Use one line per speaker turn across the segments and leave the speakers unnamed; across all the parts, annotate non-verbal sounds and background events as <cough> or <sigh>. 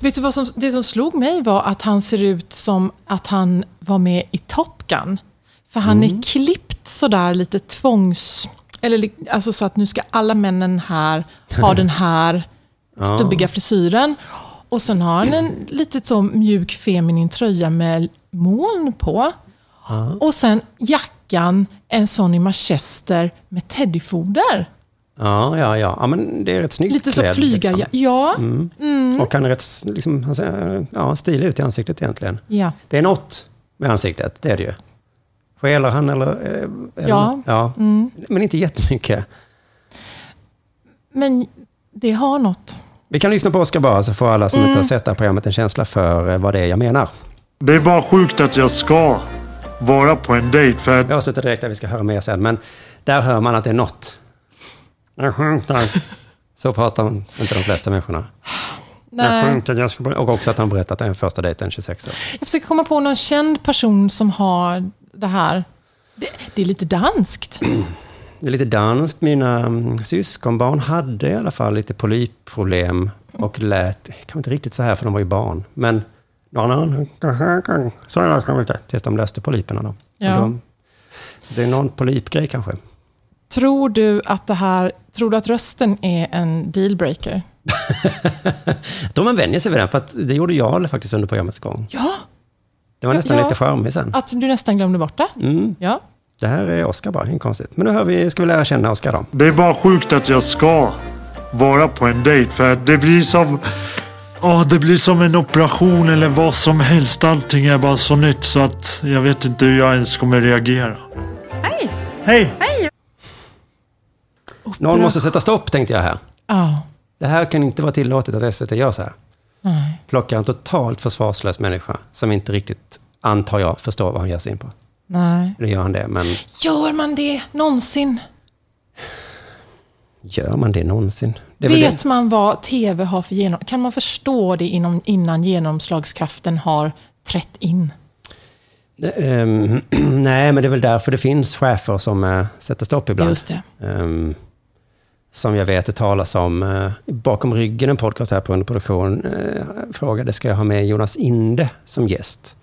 Vet du vad som, det som slog mig var att han ser ut som att han var med i Top Gun. För han
Mm.
är klippt sådär lite tvångs... Eller li- alltså så att nu ska alla männen här ha den här
<laughs>
stubbiga frisyren. Och sen har han en lite så mjuk feminin tröja med moln på. Och sen jackan, en sån i manchester med teddyfoder.
Ja, ja, ja. ja men det är rätt snyggt
Lite så
klädd,
flygar... Mm.
liksom.
Ja.
Och han är rätt liksom, han ser, ja, stilig ut i ansiktet egentligen.
ja.
Det är något med ansiktet, det är det ju. Skälar han eller? eh, eller
Ja. Mm.
ja. Men inte jättemycket.
Men det har något.
Vi kan lyssna på Oscar bara, så får alla som
Mm.
inte har sett det här programmet en känsla för eh, vad det är jag menar.
Det är bara sjukt att jag ska vara på en dejt för att
Vi avslutar direkt där vi ska höra mer sen, men där hör man att det är något. Jag sjunkar.
<laughs>
Så pratar hon, inte de flesta människorna. Jag
Nej.
sjunkar, jag ska... Och också att han berättat att det är den första dejten 26 år.
Jag försöker komma på någon känd person som har det här. Det, det är lite danskt.
Det är lite danskt. Mina mm, syskonbarn hade i alla fall lite polypproblem och lät, kanske inte riktigt så här för de var ju barn, men mm, så lät de inte, tills de löste polyperna då.
Ja.
Och De, så det är någon polypgrej kanske.
Tror du att det här, tror du att rösten är en dealbreaker?
Jag tror man vänjer sig vid den, för att det gjorde jag faktiskt under programmets gång.
Ja,
Det var nästan
Ja.
lite charmig sen.
att du nästan glömde bort det.
Mm.
Ja.
Det här är Oscar bara, helt konstigt. Men nu hör vi, ska vi lära känna Oscar då.
det är bara sjukt att jag ska vara på en dejt för att det blir som Åh, det blir som en operation eller vad som helst. Allting är bara så nytt så att jag vet inte hur jag ens kommer reagera.
Hej!
Hej!
Någon måste sätta stopp, tänkte jag här.
Ja.
Det här kan inte vara tillåtet att SVT gör så här.
Nej.
Plockar en totalt försvarslös människa som inte riktigt, antar jag, förstår vad han ger sig in på.
Nej.
Nu gör han det, men
Gör man det någonsin?
gör man det någonsin? Det är väl
Vet man vad tv har för genom... Kan man förstå det inom, innan genomslagskraften har trätt in?
det, Ehm, <clears throat> nej, men det är väl därför det finns chefer som eh, sätter stopp ibland.
Just det.
Ehm, som jag vet det talas om eh, bakom ryggen en podcast här på underproduktion eh, frågade ska jag ha med Jonas Inde som gäst.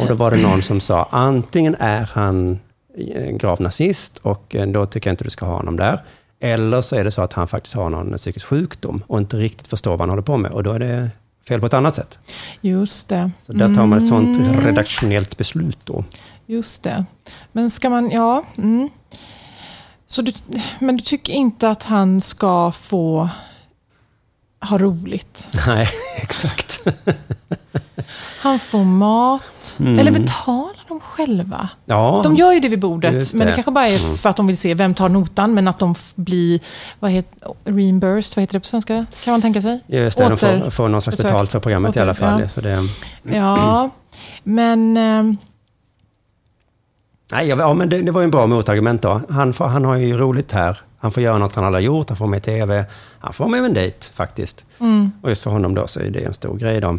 Och då var det någon som sa antingen är han eh, grav nazist och eh, då tycker jag inte du ska ha honom där. Eller så är det så att han faktiskt har någon psykisk sjukdom och inte riktigt förstår vad han håller på med och då är det fel på ett annat sätt.
Just det.
Så där tar man ett sånt
Mm.
redaktionellt beslut då. <laughs>
Just det. Men ska man, ja. Mm. Så du, men du tycker inte att han ska få ha roligt?
Nej, exakt.
Han får mat, eller betalar de själva?
Mm. Ja,
De gör ju det vid bordet,
Just
men det
det. Mm.
kanske bara är för att de vill se vem tar notan, men att de f- blir vad heter, reimbursed, vad heter det på svenska? Kan man tänka sig?
Just det, de eh, får,
Åter-
får någon slags
besökt.
betalt för programmet i
Åter-
alla fall.
ja.
Så det,
Ja, men... ehm,
nej, jag- ja, men det, det var ju en bra motargument då. Han, får, han har ju roligt här. Han får göra något han aldrig har gjort, han får med i tv. Han får med en dejt faktiskt.
Mm.
Och just för honom då så är det en stor grej då.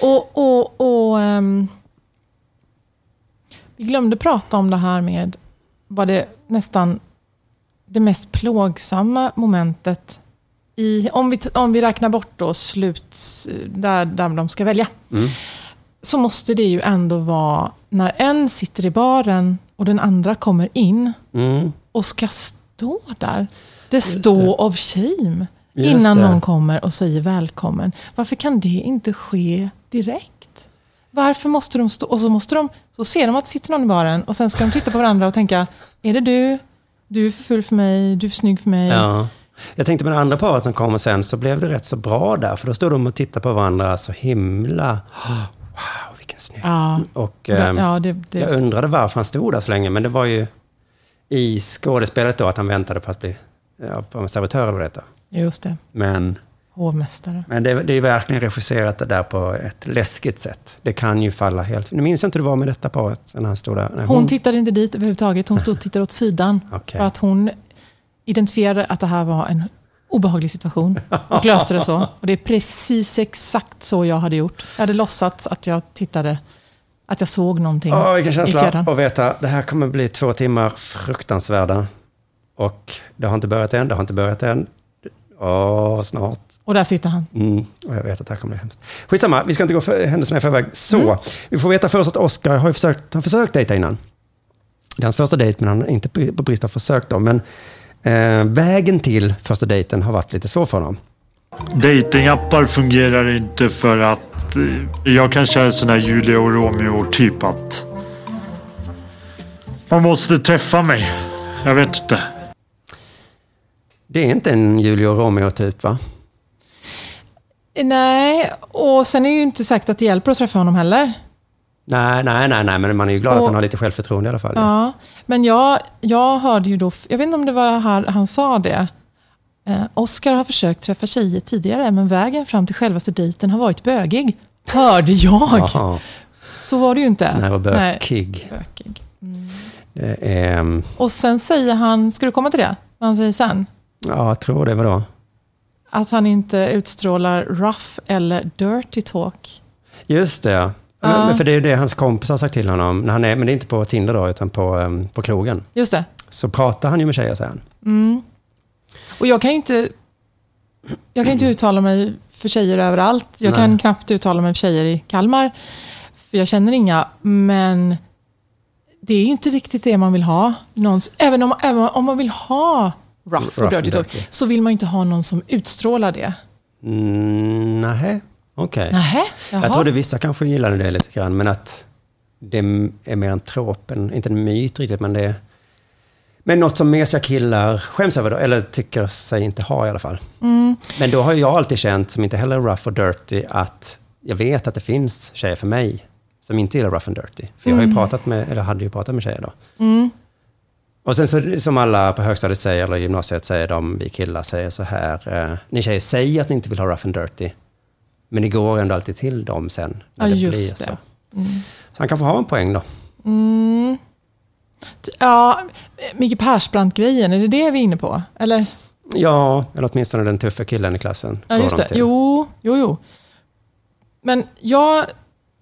Och, och, och ehm, vi glömde prata om det här med vad det nästan det mest plågsamma momentet i, om vi, t- om vi räknar bort då slut, där, där de ska välja, så måste det ju ändå vara när en sitter i baren och den andra kommer in
Mm.
och ska stå där. Det står of shame
Just
innan
det.
någon kommer och säger välkommen. Varför kan det inte ske direkt? Varför måste de stå? Och så, måste de, så ser de att det sitter någon i baren och sen ska de titta på varandra och tänka, är det du? Du är för full för mig, du är för snygg för mig.
Ja. Jag tänkte med det andra paret som kommer sen så blev det rätt så bra där. För då stod de och tittade på varandra så himla... Wow, vilken snygg.
Ja.
Och, ehm,
Ja, det, det
Jag undrade varför han stod där så länge, men det var ju i skådespelet då att han väntade på att bli ja, på en servitör eller detta.
just det.
Men,
Hovmästare.
men det, det är verkligen regisserat det där på ett läskigt sätt. Det kan ju falla helt... Nu minns jag inte hur det var med detta paret när han stod där. Nej,
Hon tittade inte dit överhuvudtaget, hon stod och tittade åt sidan.
Okej.
För att hon identifierade att det här var en obehaglig situation och löste det så. Och det är precis exakt så jag hade gjort. Jag hade låtsats att jag tittade, att jag såg någonting
Åh, vilken
i
känsla
fjärran.
att veta. Det här kommer bli två timmar fruktansvärda. Och det har inte börjat än, det har inte börjat än. Åh, snart.
Och där sitter han.
Mm, och jag vet att det här kommer bli hemskt. Skitsamma, vi ska inte gå för, händelserna i förväg. Så, vi får veta först att Oscar har ju försökt, har försökt dejta innan. Det är hans första dejt, men han har inte på brist av försök då. Men eh, vägen till första dejten har varit lite svår för honom.
Datingappar fungerar inte för att... eh, Jag kanske är sån här Julia och Romeo-typ att... Man måste träffa mig. Jag vet inte.
Det är inte en Julio Romeo-typ, va?
Nej, och sen är det ju inte sagt att det hjälper att träffa honom heller.
Nej, nej, nej, nej, men man är ju glad
Och-
att han har lite självförtroende i alla fall.
Ja, men jag, jag hörde ju då, jag vet inte om det var här han sa det. Eh, Oscar har försökt träffa tjejer tidigare, men vägen fram till självaste dejten har varit bögig. Hörde jag!
Jaha,
Så var det ju inte.
nej, vad bökig.
bökig.
Det är, ehm,
Och sen säger han, ska du komma till det? Vad han säger sen?
ja, jag tror det. Vadå?
Att han inte utstrålar rough eller dirty talk.
Just det. ja. Men, men för det är ju det hans kompis har sagt till honom. När han är, men det är inte på Tinder då, utan på, ehm, på krogen.
Just det.
Så pratar han ju med tjejer, säger han.
Och jag kan ju inte, jag kan inte uttala mig för tjejer överallt. Jag
Nej.
kan knappt uttala mig för tjejer i Kalmar, för jag känner inga. Men det är ju inte riktigt det man vill ha. Någons, även, om, även om man vill ha rough,
Rough
och dirty
and
talk,
dirty.
så vill man ju inte ha någon som utstrålar det.
Mm, nej, okej.
Nähä,
Jag trodde
jaha.
vissa kanske gillade det lite grann, men att det är mer en trop, en, inte en myt riktigt, men det är... Men något som mesiga killar skäms över, då, eller tycker sig inte ha i alla fall. Men då har jag alltid känt, som inte heller är rough och dirty, att jag vet att det finns tjejer för mig som inte gillar rough and dirty. För jag har
Mm.
ju pratat med, eller hade ju pratat med tjejer då. Och sen så, som alla på högstadiet säger, eller gymnasiet säger de, vi killar säger så här, eh, ni tjejer säger att ni inte vill ha rough and dirty, men ni går ändå alltid till dem sen. När
Ja,
det
just
blir
det.
Så. så han kanske har en poäng då.
Ja, Micke Persbrandt-grejen, är det det vi är inne på? Eller?
Ja, eller åtminstone den tuffa killen i klassen.
Ja,
går
just
de
det.
till.
Jo, jo, jo. Men jag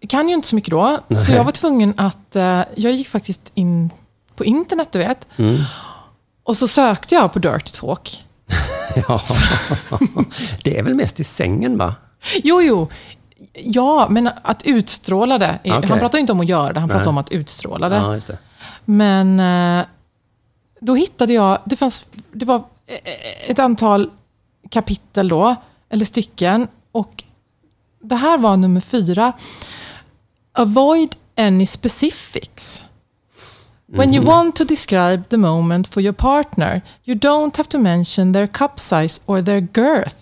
kan ju inte så mycket då, så
Nej.
jag var tvungen att... eh, jag gick faktiskt in på internet, du vet.
Mm.
Och så sökte jag på Dirty Talk.
<laughs> Ja. det är väl mest i sängen, va?
Jo, jo. Ja, men att utstråla det. är-
Ah, Okej.
Han pratar ju inte om att göra det, han pratar
Nej.
om att utstråla det.
Ja, just det.
Men eh, då hittade jag, det, fanns, det var eh, ett antal kapitel då, eller stycken. Och det här var nummer fyra. Avoid any specifics. When you want to describe the moment for your partner, you don't have to mention their cup size or their girth.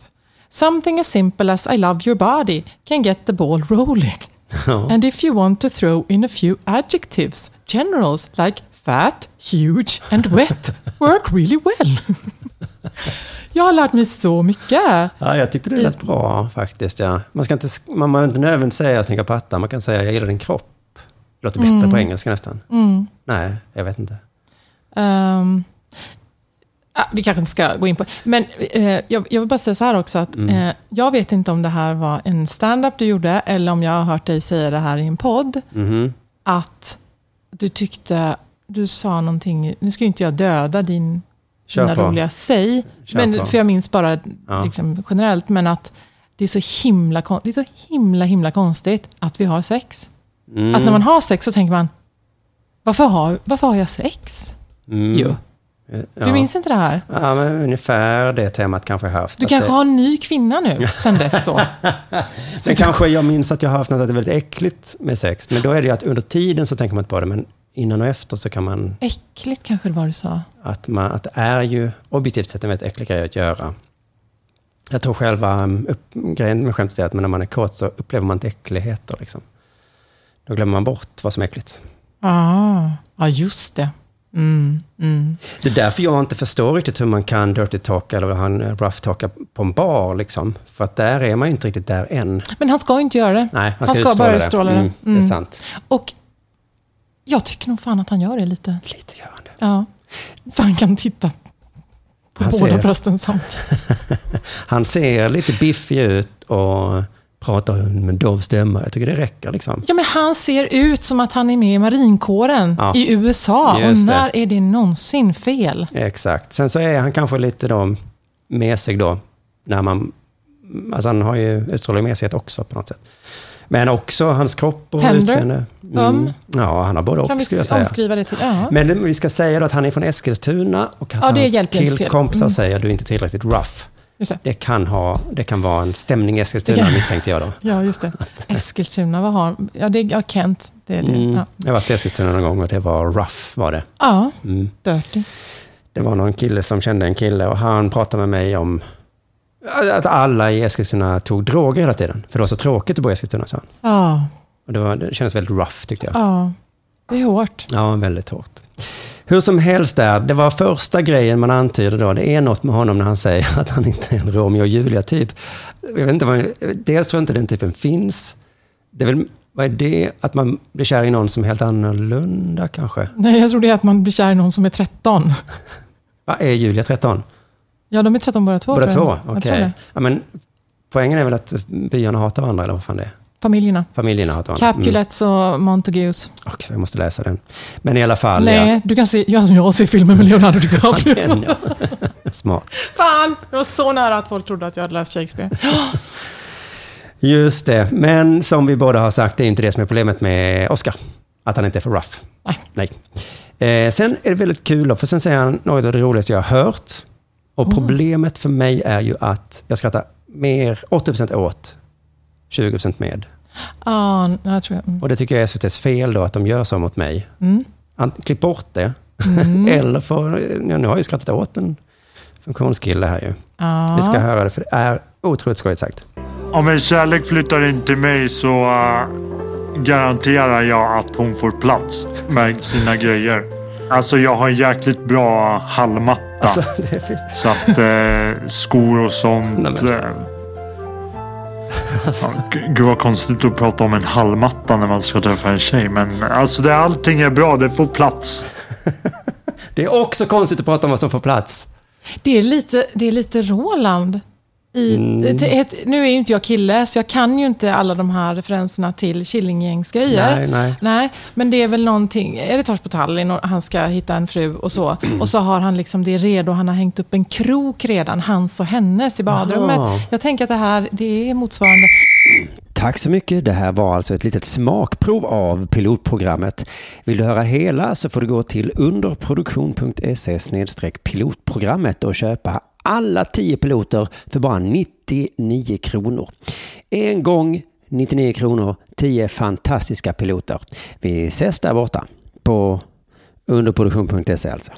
Something as simple as I love your body can get the ball rolling. And if you want to throw in a few adjectives, generals like fat, huge and wet work really well. Jag har lärt mig så mycket.
Ja, jag tyckte det lät
Mm.
bra faktiskt. Ja. Man ska inte, sk- man behöver inte nödvändigtvis säga jag slinkar patta, man kan säga jag gillar din kropp. Det låter bättre
Mm.
på engelska nästan. Nej, jag vet inte.
Ehm, ah, vi kanske inte ska gå in på Men eh, jag, jag vill bara säga så här också. Att, eh, jag vet inte om det här var en stand-up du gjorde, eller om jag har hört dig säga det här i en podd.
Mm. Mhm.
Att du tyckte, du sa någonting, nu ska ju inte jag döda din,
Kör
dina
på.
roliga säg.
Kör på.
Men, för jag minns bara liksom, generellt, men att det är, så himla, kon- det är så himla himla konstigt att vi har sex.
Mm.
Att när man har sex så tänker man, varför har, varför har jag sex? Jo.
Mm. Ja.
Du minns inte det här?
Ja, men ungefär det temat kanske jag haft.
Du
Att
kanske
det,
har en ny kvinna nu, sen dess
<laughs>
då?
sen kanske jag minns att jag har haft något att det är väldigt äckligt med sex. Men då är det ju att under tiden så tänker man inte på det, men innan och efter så kan man...
Äckligt kanske det var du sa.
Att, man, att det är ju objektivt sett en väldigt äcklig grej att göra. Jag tror själva um, upp, grejen med skämtet är att när man är kåt så upplever man inte äckligheter. Liksom. Då glömmer man bort vad som är äckligt.
Ah, ja, just det. Mm, mm.
Det är därför jag inte förstår riktigt hur man kan dirty talka eller vad han eh, rough talka på en bar. Liksom. För att där är man ju inte riktigt där än.
Men han ska ju inte göra det.
Nej, han
han
ska,
ska
utstråla
bara
det.
utstråla det.
Mm, det är
Mm.
sant.
Och jag tycker nog fan att han gör det lite.
Lite gör han det.
Ja. För han kan titta på
Han
båda
ser.
brösten samtidigt.
Han ser lite biffig ut och pratar med dov stämma. Jag tycker det räcker liksom.
Ja, men han ser ut som att han är med i marinkåren
Ja.
i USA.
Just
och
det.
när är det någonsin fel?
Exakt. Sen så är han kanske lite då mesig då, när man Alltså han har ju utsåligmässighet också på något sätt. Men också hans kropp och
Tender.
utseende. Mm.
Öm.
Ja, han har både
Um. Kan
och
vi
skulle jag säga.
omskriva det till... Ja.
Men det- vi ska säga då att han är från Eskilstuna och att
Ja, det hjälper
hans
ju inte till. Mm.
killkompisar säger att du är inte tillräckligt rough.
Just det.
Det kan, ha, det kan vara en stämning i
Det
Eskilstuna
kan-
misstänkte jag då.
Ja, just det. Eskilstuna, vad har han? Ja, det är ja, Kent. Det är det.
Mm.
<laughs> Ja.
Jag har varit i Eskilstuna någon gång och det var rough var det.
ja,
Mm.
Dirty.
Det var någon kille som kände en kille och han pratade med mig om att alla i Eskilstuna tog droger hela tiden. För det var så tråkigt att bo i Eskilstuna, sa han.
Ja,
Och det, var, det kändes väldigt rough tyckte jag.
ja. Det är hårt.
Ja, väldigt hårt. Hur som helst där, det var första grejen man antyder då, det är något med honom när han säger att han inte är en Romeo och Julia-typ. Jag vet inte vad, dels tror jag inte den typen finns. Det är väl, vad är det? Att man blir kär i någon som är helt annorlunda kanske?
Nej, jag tror det är att man blir kär i någon som är 13.
Va, är Julia 13?
Ja, de är 13 båda två.
Båda
tror
två?
jag.
Okej.
Jag tror det.
Ja, men poängen är väl att byarna hatar varandra, eller vad fan det är?
Familjerna.
Familjerna hatar varandra.
Capulets och Montagues.
Mm. Okej, jag måste läsa den. Men i alla fall, ja.
Nej, du kan se, jag som jag ser filmer
<laughs>
med Leonardo <laughs> DiCaprio.
Den, ja. <laughs> Smart.
Fan, jag var så nära att folk trodde att jag hade läst Shakespeare.
Just det, men som vi båda har sagt, det är inte det som är problemet med Oscar. Att han inte är för rough.
Nej.
Eh, sen är det väldigt kul, då, för sen säger han något av det roligaste jag har hört. Och
Oh.
problemet för mig är ju att jag skrattar mer 80% åt, 20% med.
Ja, nej, jag tror jag. Mm.
Och det tycker jag är SVTs fel då, att de gör så mot mig.
Mm.
Ant- Klipp bort det. <laughs> Eller för, ja, nu har jag ju skrattat åt en funktionskille här ju.
Ja.
Vi ska höra det, för det är otroligt skojigt sagt.
Om en kärlek flyttar in till mig så eh, garanterar jag att hon får plats med sina grejer. Alltså jag har en jäkligt bra hallmatta.
Alltså, det är fint.
Så att eh, skor och sånt.
Nej, men.
eh, ja, g- gud vad konstigt att prata om en hallmatta när man ska träffa en tjej. Men alltså det, allting är bra, det får plats.
det är också konstigt att prata om vad som får plats.
Det är lite, det är lite Roland. I,
Mm.
till ett, nu är ju inte jag kille, så jag kan ju inte alla de här referenserna till Killinggängs-grejer.
Nej, nej.
men det är väl någonting, är det Torsk på Tallinn och han ska hitta en fru och så. Och så har han liksom det redo, han har hängt upp en krok redan, hans och hennes, i badrummet.
Aha.
Jag tänker att det här, det är motsvarande.
Tack så mycket. Det här var alltså ett litet smakprov av pilotprogrammet. Vill du höra hela så får du gå till underproduktion.se pilotprogrammet och köpa alla 10 piloter för bara 99 kronor. En gång 99 kronor, 10 fantastiska piloter. Vi ses där borta på underproduktion.se alltså.